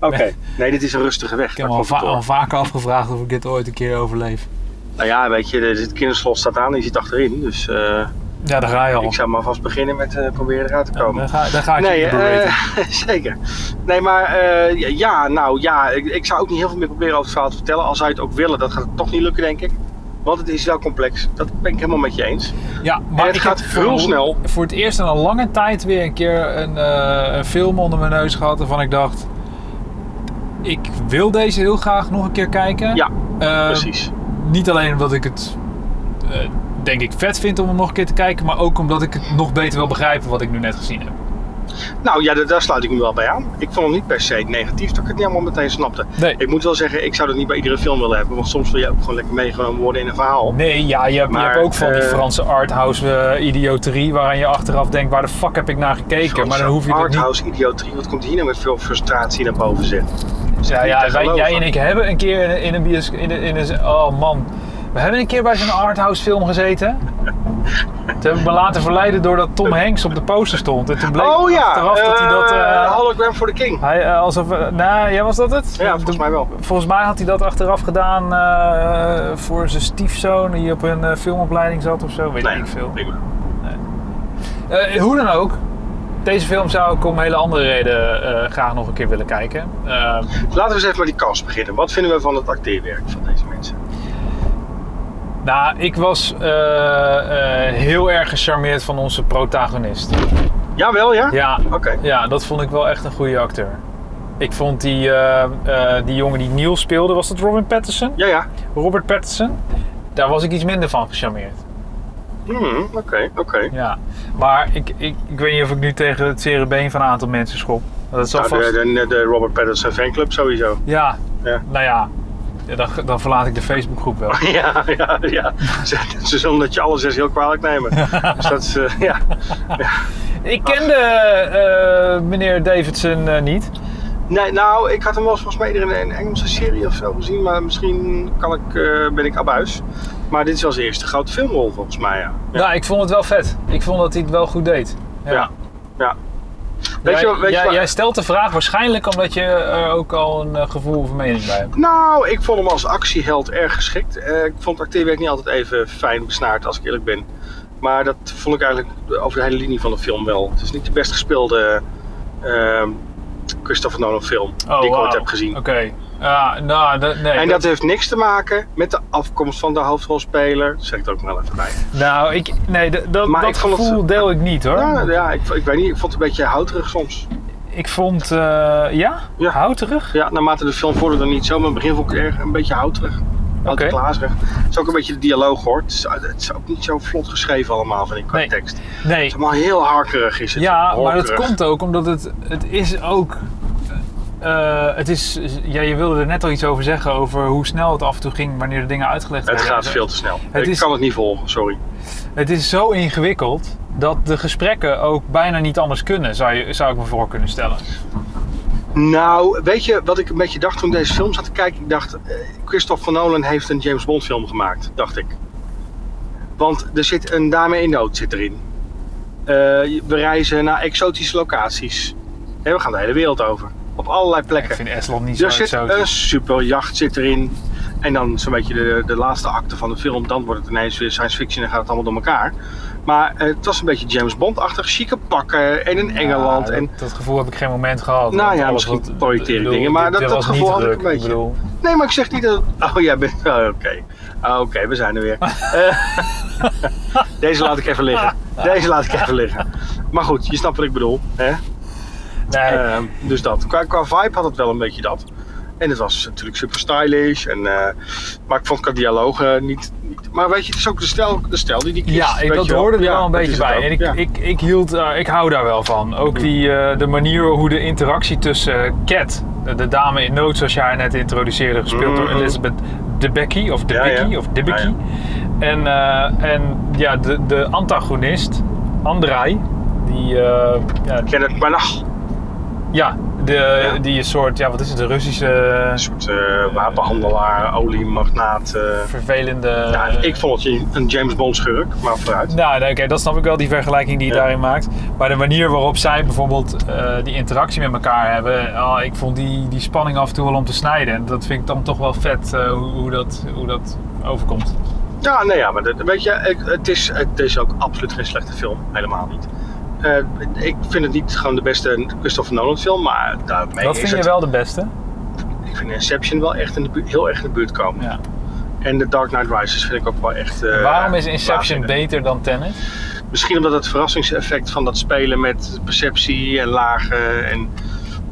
Speaker 1: Oké. Nee, dit is een rustige weg.
Speaker 3: ik heb
Speaker 1: Daar
Speaker 3: me al,
Speaker 1: komt
Speaker 3: va-
Speaker 1: het
Speaker 3: al
Speaker 1: door.
Speaker 3: vaker afgevraagd of ik dit ooit een keer overleef.
Speaker 1: Nou ja, weet je, het kinderslot staat aan en je zit achterin. Dus eh,
Speaker 3: Ja, daar ga je al.
Speaker 1: ik zou maar vast beginnen met eh, proberen eruit te komen.
Speaker 3: Daar ga, daar ga ik
Speaker 1: Nee,
Speaker 3: je op beraten.
Speaker 1: eh, zeker. Nee, maar eh, ja, ja, nou ja, ik, ik zou ook niet heel veel meer proberen over het verhaal te vertellen. Al zou je het ook willen, dat gaat toch niet lukken, denk ik. Want het is wel complex. Dat ben ik helemaal met je eens.
Speaker 3: Ja, maar
Speaker 1: het
Speaker 3: ik
Speaker 1: gaat
Speaker 3: heb
Speaker 1: heel
Speaker 3: voor-
Speaker 1: snel.
Speaker 3: Voor het eerst in een lange tijd weer een keer een, eh, een film onder mijn neus gehad waarvan ik dacht. Ik wil deze heel graag nog een keer kijken.
Speaker 1: Ja,
Speaker 3: Eh,
Speaker 1: Precies.
Speaker 3: Niet alleen omdat ik het eh, denk ik vet vind om hem nog een keer te kijken, maar ook omdat ik het nog beter wil begrijpen wat ik nu net gezien heb.
Speaker 1: Nou ja, daar, daar sluit ik me wel bij aan. Ik vond het niet per se negatief dat ik het niet allemaal meteen snapte.
Speaker 3: Nee.
Speaker 1: Ik moet wel zeggen, ik zou dat niet bij iedere film willen hebben. Want soms wil je ook gewoon lekker meegenomen worden in een verhaal.
Speaker 3: Nee, ja, je, hebt- je
Speaker 1: Maar,
Speaker 3: hebt ook van die
Speaker 1: eh,
Speaker 3: Franse arthouse eh, idioterie waaraan je achteraf denkt waar de fuck heb ik naar gekeken. Maar dan hoef je dat niet
Speaker 1: eh, Arthouse idioterie. Wat komt hier nou met veel frustratie naar boven zitten?
Speaker 3: Ja, ja, wij- jij en
Speaker 1: ik.
Speaker 3: ik hebben een keer in, in een bioscoop. In, een- in een, oh man. We hebben een keer bij zo'n arthouse film gezeten. Toen heb ik me laten verleiden doordat Tom Hanks op de poster stond. En toen bleek
Speaker 1: Oh ja,
Speaker 3: achteraf dat hij dat...
Speaker 1: eh,
Speaker 3: eh,
Speaker 1: Hologram for the King.
Speaker 3: hij, eh, alsof, eh, nou, jij was dat het?
Speaker 1: Ja, volgens mij wel.
Speaker 3: Volgens mij had hij dat achteraf gedaan eh, voor zijn stiefzoon die op een eh, filmopleiding zat of zo. Weet ik veel.
Speaker 1: prima.
Speaker 3: Eh, hoe dan ook, deze film zou ik om hele andere reden eh, graag nog een keer willen kijken. Eh,
Speaker 1: Laten we eens even met die kast beginnen. Wat vinden we van het acteerwerk van deze mensen?
Speaker 3: nou, ik was eh, eh, heel erg gecharmeerd van onze protagonist.
Speaker 1: Jawel, ja?
Speaker 3: Ja,
Speaker 1: Oké.
Speaker 3: ja, dat vond ik wel echt een goede acteur. Ik vond die, eh, eh, die jongen die Neil speelde, was dat Robin Patterson?
Speaker 1: Ja, ja.
Speaker 3: Robert Patterson, daar was ik iets minder van gecharmeerd.
Speaker 1: Hmm, Oké, oké.
Speaker 3: Ja, maar ik, ik, ik weet niet of ik nu tegen het zere been van een aantal mensen schop. Dat zal
Speaker 1: Nou,
Speaker 3: vast...
Speaker 1: de, de, de Robert Pattinson fanclub sowieso.
Speaker 3: Ja,
Speaker 1: Ja.
Speaker 3: nou ja, ja, dan, dan verlaat ik de Facebookgroep wel.
Speaker 1: Ja, ja, ja. Ze, ze zullen dat je alles eens heel kwalijk nemen. Dus dat is, eh, ja.
Speaker 3: Ik kende eh, meneer Davidson eh, niet.
Speaker 1: Nee, nou, ik had hem wel eens volgens mij eerder in een Engelse serie of zo gezien. Maar misschien kan ik, eh, ben ik abuis. Maar dit is als eerste grote filmrol volgens mij, ja.
Speaker 3: Nou, ik vond het wel vet. Ik vond dat hij het wel goed deed.
Speaker 1: Ja. Ja.
Speaker 3: Jij,
Speaker 1: Weet je, wat- weet
Speaker 3: jij,
Speaker 1: je wat-
Speaker 3: jij stelt de vraag waarschijnlijk omdat je er ook al een eh, gevoel of een mening bij hebt.
Speaker 1: Nou, ik vond hem als actieheld erg geschikt. Eh, ik vond het acteerwerk niet altijd even fijn besnaard, als ik eerlijk ben. Maar dat vond ik eigenlijk over de hele linie van de film wel. Het is niet de best gespeelde ehm Christopher Nolan film die ik ooit
Speaker 3: Oh, wauw.
Speaker 1: heb gezien.
Speaker 3: Oké. Ja, nou, dat, nee.
Speaker 1: En
Speaker 3: dat-
Speaker 1: dat heeft niks te maken met de afkomst van de hoofdrolspeler. Dat zeg ik er ook nog wel even bij.
Speaker 3: Nou, ik, nee, dat, dat,
Speaker 1: Maar
Speaker 3: dat
Speaker 1: ik vond het-
Speaker 3: gevoel deel ik niet hoor.
Speaker 1: Ja, ja ik, ik weet niet, ik vond het een beetje houterig soms.
Speaker 3: Ik vond, eh, ja?
Speaker 1: Ja.
Speaker 3: Houterig?
Speaker 1: Ja, naarmate de film vorderde niet zo, maar in het begin vond ik het erg een beetje houterig.
Speaker 3: Oké.
Speaker 1: Houterig, glazerig. Het is ook een beetje de dialoog hoor. Het is, het is ook niet zo vlot geschreven allemaal, vind ik, qua
Speaker 3: Nee.
Speaker 1: tekst. Het
Speaker 3: Nee.
Speaker 1: is allemaal heel harkerig is het.
Speaker 3: Ja, maar dat
Speaker 1: Horkerig.
Speaker 3: komt ook omdat het, het is ook. eh, het is, ja, je wilde er net al iets over zeggen, over hoe snel het af en toe ging wanneer de dingen uitgelegd
Speaker 1: Het
Speaker 3: werden.
Speaker 1: gaat veel te snel.
Speaker 3: Het
Speaker 1: ik
Speaker 3: is-
Speaker 1: kan het niet volgen, sorry.
Speaker 3: Het is zo ingewikkeld dat de gesprekken ook bijna niet anders kunnen, zou, je, zou ik me voor kunnen stellen.
Speaker 1: Nou, weet je wat ik een beetje dacht toen ik deze film zat te kijken? Ik dacht, eh, Christopher Nolan heeft een James Bond film gemaakt, dacht ik. Want er zit een dame in nood zit erin. Eh, we reizen naar exotische locaties. En we gaan de hele wereld over. Op allerlei
Speaker 3: Ik
Speaker 1: plekken.
Speaker 3: vind Estland niet zo
Speaker 1: Er zit
Speaker 3: exotisch.
Speaker 1: een superjacht zit erin. En dan zo'n beetje de, de laatste acte van de film. Dan wordt het ineens weer science fiction en gaat het allemaal door elkaar. Maar eh, het was een beetje James Bond-achtig. Chique pakken en in Engeland.
Speaker 3: Ja,
Speaker 1: en
Speaker 3: dat, dat gevoel heb ik geen moment gehad.
Speaker 1: Nou
Speaker 3: want
Speaker 1: ja,
Speaker 3: alles
Speaker 1: misschien
Speaker 3: wat-
Speaker 1: projecteer ik
Speaker 3: ik bedoel,
Speaker 1: dingen, maar
Speaker 3: dit-
Speaker 1: dat-
Speaker 3: dit
Speaker 1: dat
Speaker 3: was niet
Speaker 1: gevoel had ik
Speaker 3: druk,
Speaker 1: een beetje.
Speaker 3: bedoel,
Speaker 1: Nee, maar ik zeg niet dat. het- Oh, jij bent. oh, Oké, Ah, oké, we zijn er weer. Eh, Deze laat ik even liggen. Deze laat ik even liggen. Maar goed, je snapt wat ik bedoel. Hè?
Speaker 3: nee,
Speaker 1: Ehm, dus dat. Qua, qua vibe had het wel een beetje dat. En het was natuurlijk super stylish. En, eh, maar ik vond qua dialoog eh, niet, niet- Maar weet je, het is ook de stijl, de stijl die die kiest.
Speaker 3: Ja, ik,
Speaker 1: weet
Speaker 3: dat
Speaker 1: je wel.
Speaker 3: hoorde er
Speaker 1: Ja,
Speaker 3: wel een
Speaker 1: dat
Speaker 3: beetje
Speaker 1: is het
Speaker 3: bij.
Speaker 1: ook,
Speaker 3: En ik,
Speaker 1: ja. Mm.
Speaker 3: ik, ik, hield, eh, ik hou daar wel van. Ook die, eh, de manier hoe de interactie tussen Cat, de, de dame in nood zoals jij haar net introduceerde, gespeeld door
Speaker 1: Mhm.
Speaker 3: Elizabeth Debicki of
Speaker 1: Ja, ja.
Speaker 3: Debicki of Debicki.
Speaker 1: Ja,
Speaker 3: En, eh, en ja, de, de antagonist, Andrei, die, eh, ja,
Speaker 1: ken het maar nou, nog.
Speaker 3: ja, de,
Speaker 1: Ja.
Speaker 3: die een soort, ja, wat is het, de Russische
Speaker 1: Een soort eh, wapenhandelaar, oliemagnaat. eh.
Speaker 3: vervelende...
Speaker 1: ja, ik vond het een James Bond schurk, maar vooruit.
Speaker 3: Nou, nee, oké, dat snap ik wel, die vergelijking die je
Speaker 1: Ja.
Speaker 3: daarin maakt. Maar de manier waarop zij bijvoorbeeld eh, die interactie met elkaar hebben, ah, ik vond die, die spanning af en toe wel om te snijden. En dat vind ik dan toch wel vet eh, hoe, hoe, dat, hoe dat overkomt.
Speaker 1: Ja, nee, ja, maar dat- weet je, ik- het is, het is ook absoluut geen slechte film. Helemaal niet. Eh, ik vind het niet gewoon de beste Christopher Nolan film, maar daarmee
Speaker 3: dat
Speaker 1: is
Speaker 3: vind
Speaker 1: het.
Speaker 3: je wel de beste.
Speaker 1: Ik vind Inception wel echt in de buurt, heel erg in de buurt komen.
Speaker 3: Ja.
Speaker 1: En The Dark Knight Rises vind ik ook wel echt... eh,
Speaker 3: Waarom is Inception
Speaker 1: waanzinnig.
Speaker 3: beter dan Tenet?
Speaker 1: Misschien omdat het verrassingseffect van dat spelen met perceptie en lagen en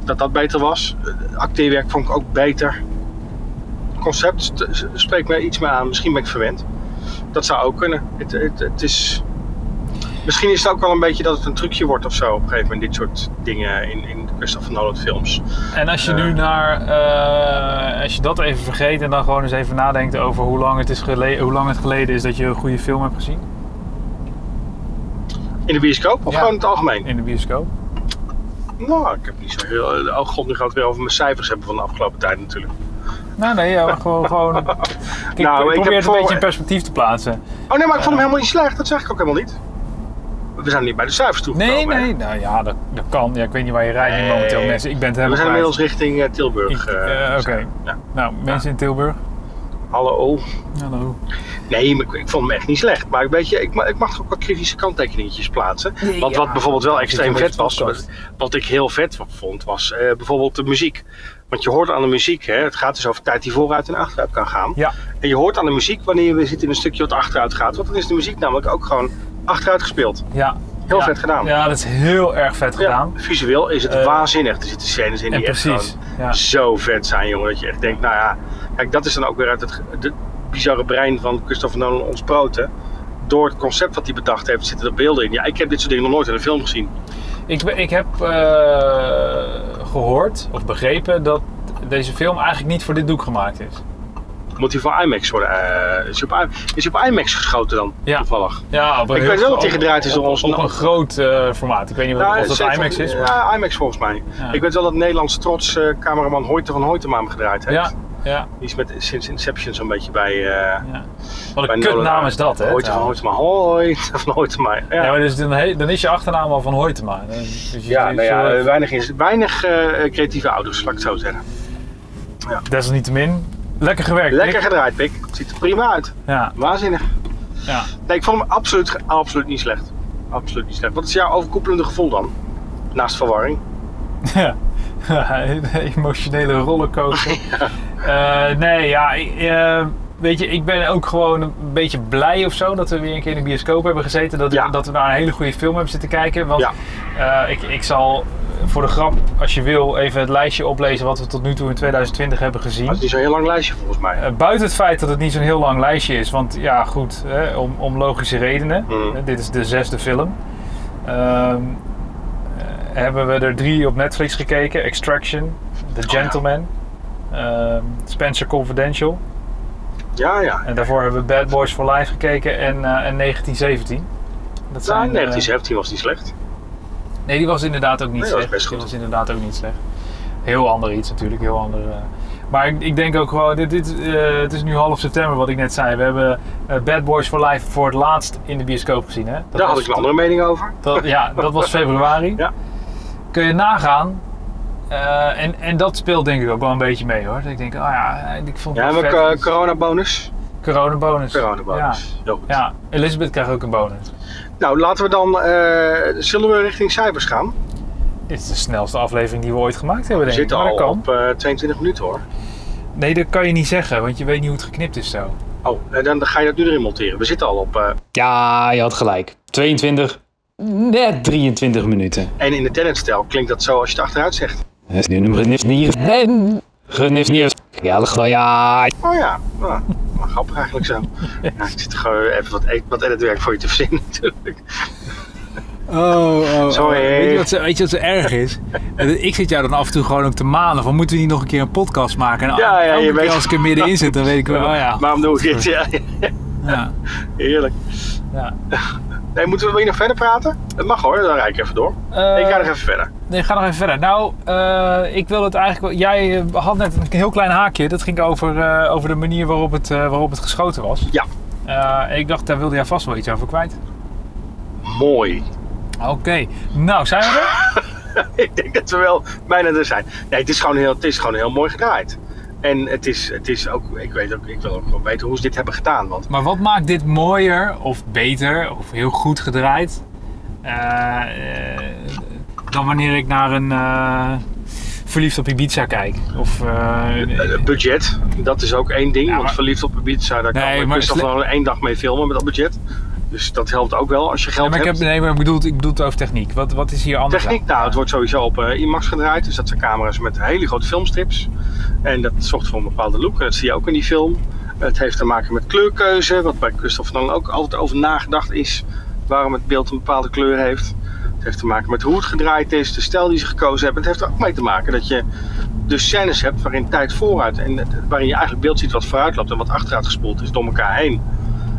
Speaker 1: dat dat beter was. Eh, Acteerwerk vond ik ook beter. Concept t- s- spreekt mij iets meer aan. Misschien ben ik verwend. Dat zou ook kunnen. Het, het, het is... Misschien is het ook wel een beetje dat het een trucje wordt of zo. Op een gegeven moment dit soort dingen in, in Christopher Nolan films.
Speaker 3: En als je
Speaker 1: Eh.
Speaker 3: nu naar, eh, als je dat even vergeet en dan gewoon eens even nadenkt over hoe lang het, is gele- hoe lang het geleden is dat je een goede film hebt gezien
Speaker 1: In de bioscoop of
Speaker 3: Ja.
Speaker 1: gewoon in het algemeen?
Speaker 3: in de bioscoop.
Speaker 1: Nou, ik heb niet zo heel... Oh god, nu gaan we het weer over mijn cijfers hebben van de afgelopen tijd natuurlijk.
Speaker 3: Nou, nee, ja, gewoon. gewoon Kijk,
Speaker 1: Nou,
Speaker 3: ik
Speaker 1: ik
Speaker 3: probeer
Speaker 1: heb
Speaker 3: het een
Speaker 1: voor-
Speaker 3: beetje in perspectief te plaatsen.
Speaker 1: Oh nee, maar ik vond hem helemaal niet slecht. Dat zeg ik ook helemaal niet. We zijn niet bij de cijfers toegekomen.
Speaker 3: Nee,
Speaker 1: hè?
Speaker 3: nee, nou ja, dat, dat kan. Ja, ik weet niet waar je rijdt nu momenteel,
Speaker 1: Nee.
Speaker 3: mensen. Ik ben het helemaal
Speaker 1: We zijn inmiddels
Speaker 3: kwijt.
Speaker 1: richting eh, Tilburg.
Speaker 3: Ik-
Speaker 1: eh,
Speaker 3: eh, oké.
Speaker 1: zijn. Ja.
Speaker 3: Nou, mensen in Tilburg.
Speaker 1: Hallo.
Speaker 3: Hallo.
Speaker 1: Nee, maar ik, ik vond hem echt niet slecht. Maar weet je, ik, ma- ik mag toch ook wat kritische kanttekeningetjes plaatsen. Want wat bijvoorbeeld wel extreem
Speaker 3: voor
Speaker 1: vet
Speaker 3: deze
Speaker 1: was,
Speaker 3: podcast.
Speaker 1: wat, wat ik heel vet vond, was eh, bijvoorbeeld de muziek. Want je hoort aan de muziek, hè, het gaat dus over tijd die vooruit en achteruit kan gaan.
Speaker 3: Ja.
Speaker 1: En je hoort aan de muziek wanneer we zitten in een stukje wat achteruit gaat. Want dan is de muziek namelijk ook gewoon achteruit gespeeld.
Speaker 3: Ja.
Speaker 1: Heel
Speaker 3: Ja.
Speaker 1: vet gedaan.
Speaker 3: Ja, dat is heel erg vet gedaan.
Speaker 1: Ja, visueel is het
Speaker 3: Eh,
Speaker 1: waanzinnig. Er zitten scènes in
Speaker 3: en
Speaker 1: die echt
Speaker 3: precies,
Speaker 1: gewoon
Speaker 3: ja.
Speaker 1: zo vet zijn, jongen. Dat je echt denkt, nou ja, kijk, dat is dan ook weer uit het, ge- het bizarre brein van Christopher Nolan ontsproten. Door het concept wat hij bedacht heeft, zitten er beelden in. Ja, ik heb dit soort dingen nog nooit in een film gezien.
Speaker 3: Ik, be- ik heb eh, gehoord of begrepen dat deze film eigenlijk niet voor dit doek gemaakt is.
Speaker 1: Moet hij voor IMAX worden? eh, is, hij op, I- is hij op IMAX geschoten dan?
Speaker 3: Ja.
Speaker 1: Toevallig.
Speaker 3: Ja, op een
Speaker 1: Ik
Speaker 3: heel
Speaker 1: weet wel
Speaker 3: gro-
Speaker 1: dat die gedraaid is
Speaker 3: op,
Speaker 1: door ons
Speaker 3: op
Speaker 1: land.
Speaker 3: een groot eh, formaat. Ik weet niet wat,
Speaker 1: Nou,
Speaker 3: of dat
Speaker 1: zeker-
Speaker 3: IMAX is. maar-
Speaker 1: Ja, IMAX volgens mij.
Speaker 3: Ja.
Speaker 1: Ik weet wel dat Nederlands trots eh, cameraman Hoyte van Hoytema hem gedraaid heeft.
Speaker 3: ja, ja,
Speaker 1: Die is met, sinds Inception zo'n beetje bij... eh,
Speaker 3: ja. Wat
Speaker 1: bij
Speaker 3: een
Speaker 1: Nolan
Speaker 3: kutnaam is dat, hè?
Speaker 1: Hoyte van
Speaker 3: trouwens.
Speaker 1: Hoytema, hoi. Van Hoytema, ja.
Speaker 3: Ja, maar dus dan, he- dan is je achternaam al van Hoytema. Dan- Dus je-
Speaker 1: Ja, nou
Speaker 3: dus,
Speaker 1: ja,
Speaker 3: eh,
Speaker 1: eh, weinig, is, weinig eh, creatieve ouders, laat ik het zo zeggen.
Speaker 3: desalniettemin. Lekker gewerkt.
Speaker 1: Lekker
Speaker 3: Nick.
Speaker 1: gedraaid, Pik. Ziet er prima uit.
Speaker 3: Ja,
Speaker 1: Waanzinnig.
Speaker 3: ja.
Speaker 1: Nee, ik vond hem absoluut, ge- absoluut niet slecht. Absoluut niet slecht. Wat is jouw overkoepelende gevoel dan? Naast verwarring.
Speaker 3: Ja, de emotionele rollercoaster. Eh, nee, ja, ik, eh, weet je, ik ben ook gewoon een beetje blij of zo dat we weer een keer in de bioscoop hebben gezeten. Dat,
Speaker 1: Ja.
Speaker 3: dat we naar een hele goede film hebben zitten kijken. Want
Speaker 1: Ja.
Speaker 3: eh, ik, ik zal voor de grap, als je wil, even het lijstje oplezen wat we tot nu toe in 2020 hebben gezien.
Speaker 1: Dat is niet zo'n heel lang lijstje volgens mij.
Speaker 3: Eh, buiten het feit dat het niet zo'n heel lang lijstje is, want ja, goed, hè, om, om logische redenen.
Speaker 1: Mm.
Speaker 3: Eh, Dit is de zesde film. Ehm, eh, hebben we er drie op Netflix gekeken: Extraction, The Gentleman, ehm, Spencer Confidential.
Speaker 1: Ja, ja.
Speaker 3: En daarvoor hebben we Bad Boys for Life gekeken en, eh, en 1917. Dat
Speaker 1: Nou,
Speaker 3: eh,
Speaker 1: 1917 was niet slecht.
Speaker 3: Nee, die was inderdaad ook niet
Speaker 1: Nee, dat was
Speaker 3: slecht.
Speaker 1: best goed.
Speaker 3: Die was inderdaad ook niet slecht. Heel ander iets natuurlijk, heel ander. eh. Maar ik, ik denk ook gewoon, dit, dit, eh, het is nu half september wat ik net zei. We hebben eh, Bad Boys for Life voor het laatst in de bioscoop gezien. Hè? Dat
Speaker 1: Daar
Speaker 3: was-
Speaker 1: had ik een andere mening over.
Speaker 3: dat, ja, dat was februari.
Speaker 1: Ja.
Speaker 3: Kun je nagaan. eh, en, en dat speelt denk ik ook wel een beetje mee hoor. Dat ik denk, ah ja, ik vond
Speaker 1: Ja,
Speaker 3: het
Speaker 1: hebben
Speaker 3: vet.
Speaker 1: we eh, coronabonus.
Speaker 3: coronabonus.
Speaker 1: Coronabonus. Heel goed.
Speaker 3: Ja. ja, Elizabeth krijgt ook een bonus.
Speaker 1: Nou, laten we dan... eh, zullen we richting cijfers gaan?
Speaker 3: Dit is de snelste aflevering die we ooit gemaakt hebben
Speaker 1: We
Speaker 3: denk ik.
Speaker 1: zitten
Speaker 3: Maar dat
Speaker 1: al
Speaker 3: kan.
Speaker 1: op eh, 22 minuten hoor.
Speaker 3: Nee, dat kan je niet zeggen, want je weet niet hoe het geknipt is zo.
Speaker 1: Oh, eh, dan ga je dat nu erin monteren. We zitten al op... eh,
Speaker 3: Ja, je had gelijk. 22, net 23 minuten.
Speaker 1: en in de Tenet-stijl klinkt dat zo als je het achteruit zegt.
Speaker 3: Ja,
Speaker 1: Oh ja, nou, nou, grappig eigenlijk zo. Ja, ik zit gewoon even wat, e- wat editwerk voor je te verzinnen natuurlijk.
Speaker 3: Oh, oh,
Speaker 1: Sorry.
Speaker 3: oh. Weet je, wat, zo- weet je wat zo erg is? Eh, ik zit jou dan af en toe gewoon ook te manen van moeten we niet nog een keer een podcast maken? En
Speaker 1: Ja, ja,
Speaker 3: elke
Speaker 1: je
Speaker 3: keer
Speaker 1: weet-
Speaker 3: als ik er middenin zit, dan weet ik wel, oh ja.
Speaker 1: Waarom doe ik dit? Ja,
Speaker 3: ja,
Speaker 1: heerlijk.
Speaker 3: ja.
Speaker 1: Nee, moeten we wil je nog verder praten? Dat mag hoor, dan rijd ik even door.
Speaker 3: Eh,
Speaker 1: ik ga nog even verder.
Speaker 3: Nee, ga nog even verder. Nou, eh, ik wil het eigenlijk wel... Jij eh, had net een heel klein haakje. Dat ging over, eh, over de manier waarop het, eh, waarop het geschoten was.
Speaker 1: Ja.
Speaker 3: Eh, ik dacht, daar wilde jij vast wel iets over kwijt.
Speaker 1: Mooi.
Speaker 3: Oké, nou zijn we er?
Speaker 1: ik denk dat we wel bijna er zijn. Nee, het is gewoon heel, het is gewoon heel mooi gedraaid. En het is, het is ook, ik weet ook, ik wil ook gewoon weten hoe ze dit hebben gedaan. Want
Speaker 3: Maar wat maakt dit mooier of beter of heel goed gedraaid eh, eh, dan wanneer ik naar een eh, verliefd op Ibiza kijk? Of, eh,
Speaker 1: eh, budget, dat is ook één ding.
Speaker 3: Ja,
Speaker 1: Want
Speaker 3: maar-
Speaker 1: verliefd op gebied, zou daar
Speaker 3: Nee,
Speaker 1: kan
Speaker 3: maar
Speaker 1: ik
Speaker 3: sle-
Speaker 1: gewoon één dag mee filmen met dat budget. Dus dat helpt ook wel als je geld
Speaker 3: nee, maar ik,
Speaker 1: hebt.
Speaker 3: heb, nee, maar ik bedoel, het- ik bedoel het over techniek. Wat, wat is hier anders?
Speaker 1: Techniek, nou, het wordt sowieso op eh, IMAX gedraaid. Dus dat zijn camera's met hele grote filmstrips. En dat zorgt voor een bepaalde look. En dat zie je ook in die film. Het heeft te maken met kleurkeuze, wat bij Christopher dan ook altijd over nagedacht is. Waarom het beeld een bepaalde kleur heeft. Het heeft te maken met hoe het gedraaid is, de stijl die ze gekozen hebben. Het heeft er ook mee te maken dat je dus scènes hebt waarin tijd vooruit en eh, waarin je eigenlijk beeld ziet wat vooruit loopt en wat achteruit gespoeld is door elkaar heen.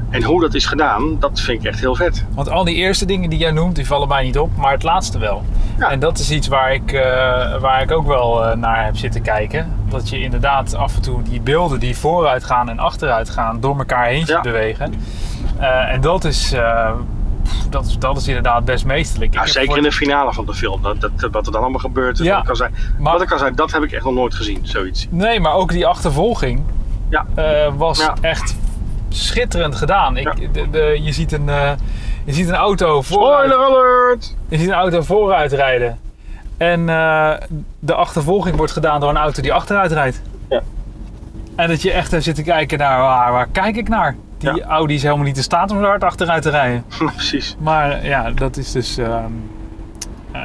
Speaker 1: En hoe dat is gedaan, dat vind ik echt heel vet.
Speaker 3: Want al die eerste dingen die jij noemt, die vallen mij niet op, maar het laatste wel.
Speaker 1: Ja.
Speaker 3: En dat is iets waar ik, eh, waar ik ook wel eh, naar heb zitten kijken. dat je inderdaad af en toe die beelden die vooruit gaan en achteruit gaan door elkaar heen ziet
Speaker 1: Ja.
Speaker 3: bewegen. Eh, en dat is, eh, pff, dat, is, dat is inderdaad best meesterlijk.
Speaker 1: Ja,
Speaker 3: Ik heb
Speaker 1: zeker in
Speaker 3: voor-
Speaker 1: de finale van de film. Dat, dat, wat er dan allemaal gebeurt.
Speaker 3: Ja,
Speaker 1: wat, er kan zijn,
Speaker 3: maar-
Speaker 1: wat er kan zijn, dat heb ik echt nog nooit gezien. Zoiets.
Speaker 3: Nee, maar ook die achtervolging
Speaker 1: Ja.
Speaker 3: eh, was
Speaker 1: Ja.
Speaker 3: echt schitterend gedaan. Ik,
Speaker 1: Ja.
Speaker 3: de- de- je, ziet een, eh, je ziet een auto vooruit
Speaker 1: Spoiler alert!
Speaker 3: Je ziet een auto vooruit rijden. En eh, de achtervolging wordt gedaan door een auto die achteruit rijdt.
Speaker 1: Ja.
Speaker 3: En dat je echt eh, zit te kijken naar waar, waar kijk ik naar. Die
Speaker 1: Ja.
Speaker 3: Audi is helemaal niet in staat om zo hard achteruit te rijden.
Speaker 1: Precies.
Speaker 3: Maar eh, ja, dat is dus ehm, eh,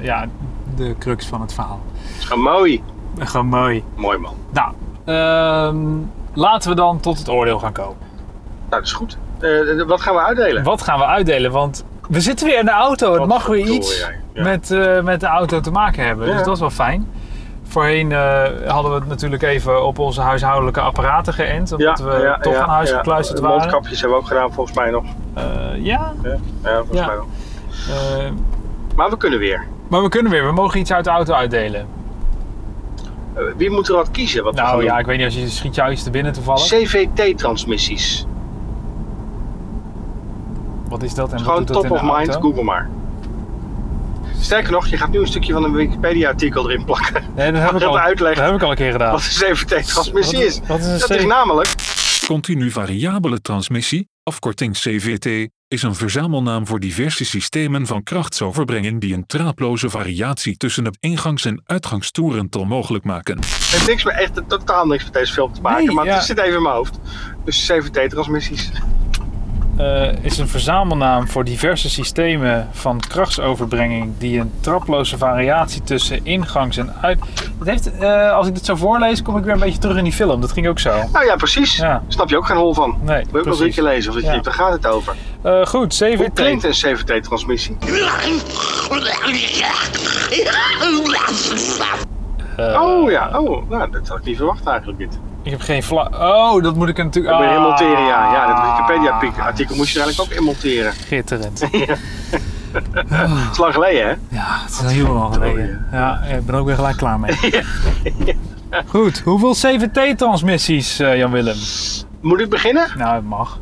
Speaker 3: ja, de crux van het verhaal.
Speaker 1: Gewoon Mooi.
Speaker 3: Gewoon mooi.
Speaker 1: Mooi man.
Speaker 3: Nou, ehm, laten we dan tot het oordeel gaan komen.
Speaker 1: Nou, dat is goed. Eh, wat gaan we uitdelen?
Speaker 3: Wat gaan we uitdelen? Want we zitten weer in de auto. Het
Speaker 1: Wat
Speaker 3: mag weer
Speaker 1: verdorie,
Speaker 3: iets
Speaker 1: jij. Ja.
Speaker 3: met, eh, met de auto te maken hebben.
Speaker 1: Ja.
Speaker 3: Dus dat is wel fijn. Voorheen eh, hadden we het natuurlijk even op onze huishoudelijke apparaten geënt. Omdat we toch aan huis gekluisterd
Speaker 1: De
Speaker 3: waren.
Speaker 1: Mondkapjes hebben we ook gedaan volgens mij nog.
Speaker 3: Eh, ja.
Speaker 1: Ja, ja volgens
Speaker 3: Ja.
Speaker 1: mij wel.
Speaker 3: eh,
Speaker 1: Maar we kunnen weer.
Speaker 3: maar we kunnen weer. We mogen iets uit de auto uitdelen.
Speaker 1: Eh, wie moet er wat kiezen? Wat we gaan
Speaker 3: Nou
Speaker 1: doen?
Speaker 3: ja, ik weet niet als je schiet jou iets te binnen toevallig.
Speaker 1: CVT-transmissies.
Speaker 3: Wat is dat en wat
Speaker 1: Gewoon
Speaker 3: doet dat
Speaker 1: top
Speaker 3: in de
Speaker 1: of mind,
Speaker 3: auto?
Speaker 1: google maar. Sterker nog, je gaat nu een stukje van een Wikipedia-artikel erin plakken.
Speaker 3: Nee, dat heb, ik
Speaker 1: Dat
Speaker 3: al,
Speaker 1: uitlegt.
Speaker 3: dat heb ik al een keer gedaan.
Speaker 1: Wat een CVT-transmissie
Speaker 3: Wat-
Speaker 1: is.
Speaker 3: wat is een
Speaker 1: dat is
Speaker 3: CV?
Speaker 1: namelijk
Speaker 4: Continu variabele transmissie, afkorting CVT, is een verzamelnaam voor diverse systemen van krachtsoverbrenging die een draadloze variatie tussen het ingangs- en uitgangstoerental mogelijk maken.
Speaker 1: Het heeft niks meer, echt totaal niks met deze film te maken,
Speaker 3: Nee,
Speaker 1: maar
Speaker 3: ja.
Speaker 1: het zit even in mijn hoofd. Dus CVT-transmissies.
Speaker 3: eh, is een verzamelnaam voor diverse systemen van krachtsoverbrenging die een traploze variatie tussen ingangs en uit. Dat heeft, eh, als ik dit zo voorlees, kom ik weer een beetje terug in die film. Dat ging ook zo.
Speaker 1: Nou ja, precies.
Speaker 3: Ja.
Speaker 1: Snap je ook geen hol van.
Speaker 3: Nee,
Speaker 1: Wil ik nog een
Speaker 3: precies.
Speaker 1: keertje lezen of dat je
Speaker 3: Ja.
Speaker 1: denkt, daar gaat het over.
Speaker 3: Eh, goed,
Speaker 1: Hoe klinkt
Speaker 3: CVT.
Speaker 1: een CVT-transmissie?
Speaker 3: Eh,
Speaker 1: Oh ja, oh, nou, dat had ik niet verwacht eigenlijk niet.
Speaker 3: Ik heb geen vla. Oh, dat moet ik er natuurlijk.
Speaker 1: Dat moet je in
Speaker 3: Ah.
Speaker 1: monteren, ja. Ja, dat Wikipedia-artikel moest je er eigenlijk ook in monteren.
Speaker 3: Schitterend.
Speaker 1: Dat is lang geleden, hè?
Speaker 3: Ja, het is een heel lang geleden. Ja, ik ben er ook weer gelijk klaar mee. Goed, hoeveel CVT-transmissies, eh, Jan-Willem?
Speaker 1: Moet ik beginnen?
Speaker 3: Nou, het mag.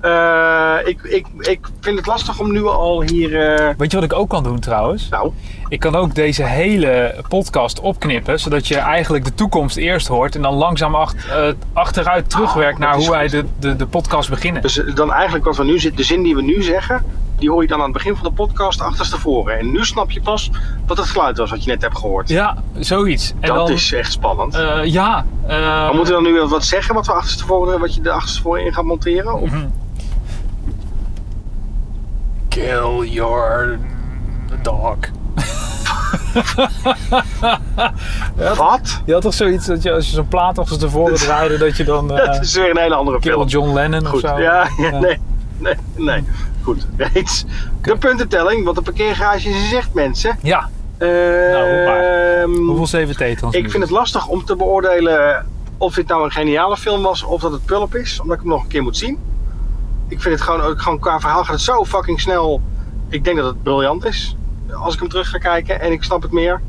Speaker 1: Eh, ik, ik, ik vind het lastig om nu al hier... eh,
Speaker 3: Weet je wat ik ook kan doen trouwens?
Speaker 1: Nou,
Speaker 3: Ik kan ook deze hele podcast opknippen, zodat je eigenlijk de toekomst eerst hoort en dan langzaam ach- eh, achteruit terugwerkt
Speaker 1: Oh, dat
Speaker 3: naar
Speaker 1: is
Speaker 3: hoe wij
Speaker 1: goed.
Speaker 3: de, de, de podcast beginnen.
Speaker 1: dus dan eigenlijk wat we nu zitten, de zin die we nu zeggen, die hoor je dan aan het begin van de podcast achterstevoren. En nu snap je pas wat het geluid was wat je net hebt gehoord.
Speaker 3: Ja, zoiets. En
Speaker 1: dat
Speaker 3: dan,
Speaker 1: is echt spannend.
Speaker 3: eh, ja. eh,
Speaker 1: maar moeten we dan nu wat zeggen wat we achterstevoren, wat je er achterstevoren in gaat monteren? Of
Speaker 3: Mhm. Kill your dog.
Speaker 1: wat?
Speaker 3: Je had toch zoiets dat je als je zo'n plaat achter tevoren draaide, dat je dan eh,
Speaker 1: dat is weer een hele andere
Speaker 3: Kill
Speaker 1: film.
Speaker 3: John Lennon
Speaker 1: Goed.
Speaker 3: of zo.
Speaker 1: Ja, ja, nee. Nee, nee. Goed. Eens. De puntentelling, want de parkeergarage is echt mensen.
Speaker 3: Ja, Nou, hoe
Speaker 1: Ehm,
Speaker 3: hoeveel CVT-transmissies?
Speaker 1: Ik vind het lastig om te beoordelen of dit nou een geniale film was of dat het pulp is, omdat ik hem nog een keer moet zien. Ik vind het gewoon, ook gewoon qua verhaal gaat het zo fucking snel. Ik denk dat het briljant is als ik hem terug ga kijken en ik snap het meer.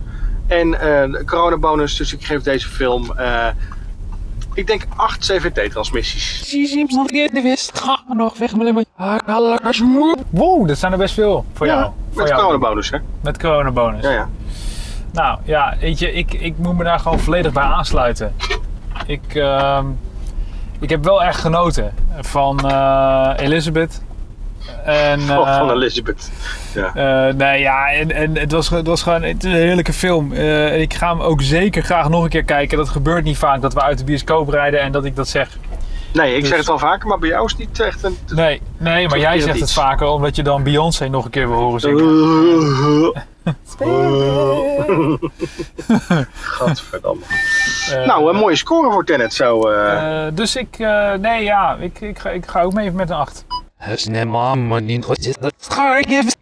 Speaker 1: En eh de coronabonus, dus ik geef deze film, eh, ik denk 8 CVT-transmissies.
Speaker 3: Wow, dat zijn er best veel voor jou. Voor
Speaker 1: met
Speaker 3: jou.
Speaker 1: coronabonus, hè?
Speaker 3: Met coronabonus.
Speaker 1: Ja, ja.
Speaker 3: Nou ja, weet je, ik, ik moet me daar gewoon volledig bij aansluiten. Ik, ehm, ik heb wel echt genoten van eh, Elizabeth. En,
Speaker 1: Oh,
Speaker 3: eh,
Speaker 1: van Elizabeth. Ja.
Speaker 3: eh, nee, ja, en, en het, was, ge- het was gewoon het is een heerlijke film. Eh, ik ga hem ook zeker graag nog een keer kijken. Dat gebeurt niet vaak dat we uit de bioscoop rijden en dat ik dat zeg.
Speaker 1: Nee, ik
Speaker 3: dus-
Speaker 1: zeg het al vaker, maar bij jou is het niet echt een...
Speaker 3: Nee, nee maar
Speaker 1: Toch
Speaker 3: jij
Speaker 1: is dat
Speaker 3: zegt het
Speaker 1: iets.
Speaker 3: vaker omdat je dan Beyoncé nog een keer wil horen zingen.
Speaker 1: Gadverdamme.
Speaker 3: Eh,
Speaker 1: Nou, een mooie score voor Tenet zo. eh.
Speaker 3: eh, dus ik, eh, nee ja, ik, ik, ga, ik ga ook mee met een 8.
Speaker 5: Has ne mama niet goed is dat schaar gives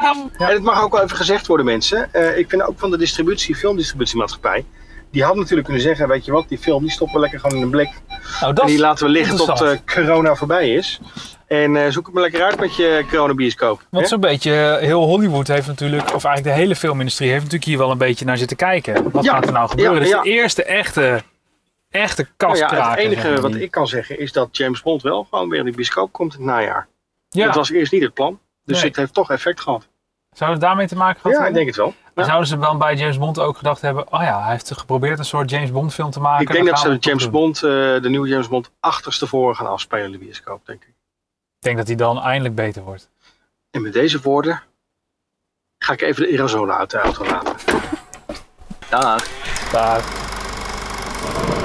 Speaker 3: Nou,
Speaker 1: En het mag ook wel even gezegd worden, mensen. Eh, ik ben ook van de distributie, filmdistributiemaatschappij. die had natuurlijk kunnen zeggen, weet je wat, die film die stoppen we lekker gewoon in een blik.
Speaker 3: Nou,
Speaker 1: En
Speaker 3: dat
Speaker 1: die
Speaker 3: is
Speaker 1: laten we liggen tot eh,
Speaker 3: interessant.
Speaker 1: corona voorbij is. En eh, zoek het maar lekker uit met je coronabioscoop.
Speaker 3: Want
Speaker 1: hè?
Speaker 3: zo'n beetje, eh, heel Hollywood heeft natuurlijk, of eigenlijk de hele filmindustrie heeft natuurlijk hier wel een beetje naar zitten kijken. Wat
Speaker 1: Ja,
Speaker 3: gaat er nou
Speaker 1: ja,
Speaker 3: gebeuren?
Speaker 1: ja.
Speaker 3: Dus de eerste echte, echte
Speaker 1: Nou ja,
Speaker 3: kastkraker.
Speaker 1: het enige
Speaker 3: zeg maar.
Speaker 1: wat ik kan zeggen is dat James Bond wel gewoon weer in de bioscoop komt in het najaar.
Speaker 3: Ja,
Speaker 1: Dat was eerst niet het plan. Dus
Speaker 3: Nee.
Speaker 1: het heeft toch effect gehad.
Speaker 3: zouden het daarmee te maken gehad
Speaker 1: Ja, ik
Speaker 3: hebben?
Speaker 1: denk het wel. Ja.
Speaker 3: Maar Zouden ze dan bij James Bond ook gedacht hebben, oh ja, hij heeft geprobeerd een soort James Bond film te maken.
Speaker 1: Ik denk
Speaker 3: dan
Speaker 1: dat ze
Speaker 3: gaan
Speaker 1: de
Speaker 3: we het
Speaker 1: James
Speaker 3: toch doen.
Speaker 1: Bond, eh, de nieuwe James Bond, achterstevoren gaan afspelen in de bioscoop, denk ik.
Speaker 3: Ik denk dat hij dan eindelijk beter wordt.
Speaker 1: En met deze woorden ga ik even de aerosolen uit de auto laten. Dag.
Speaker 3: Daar.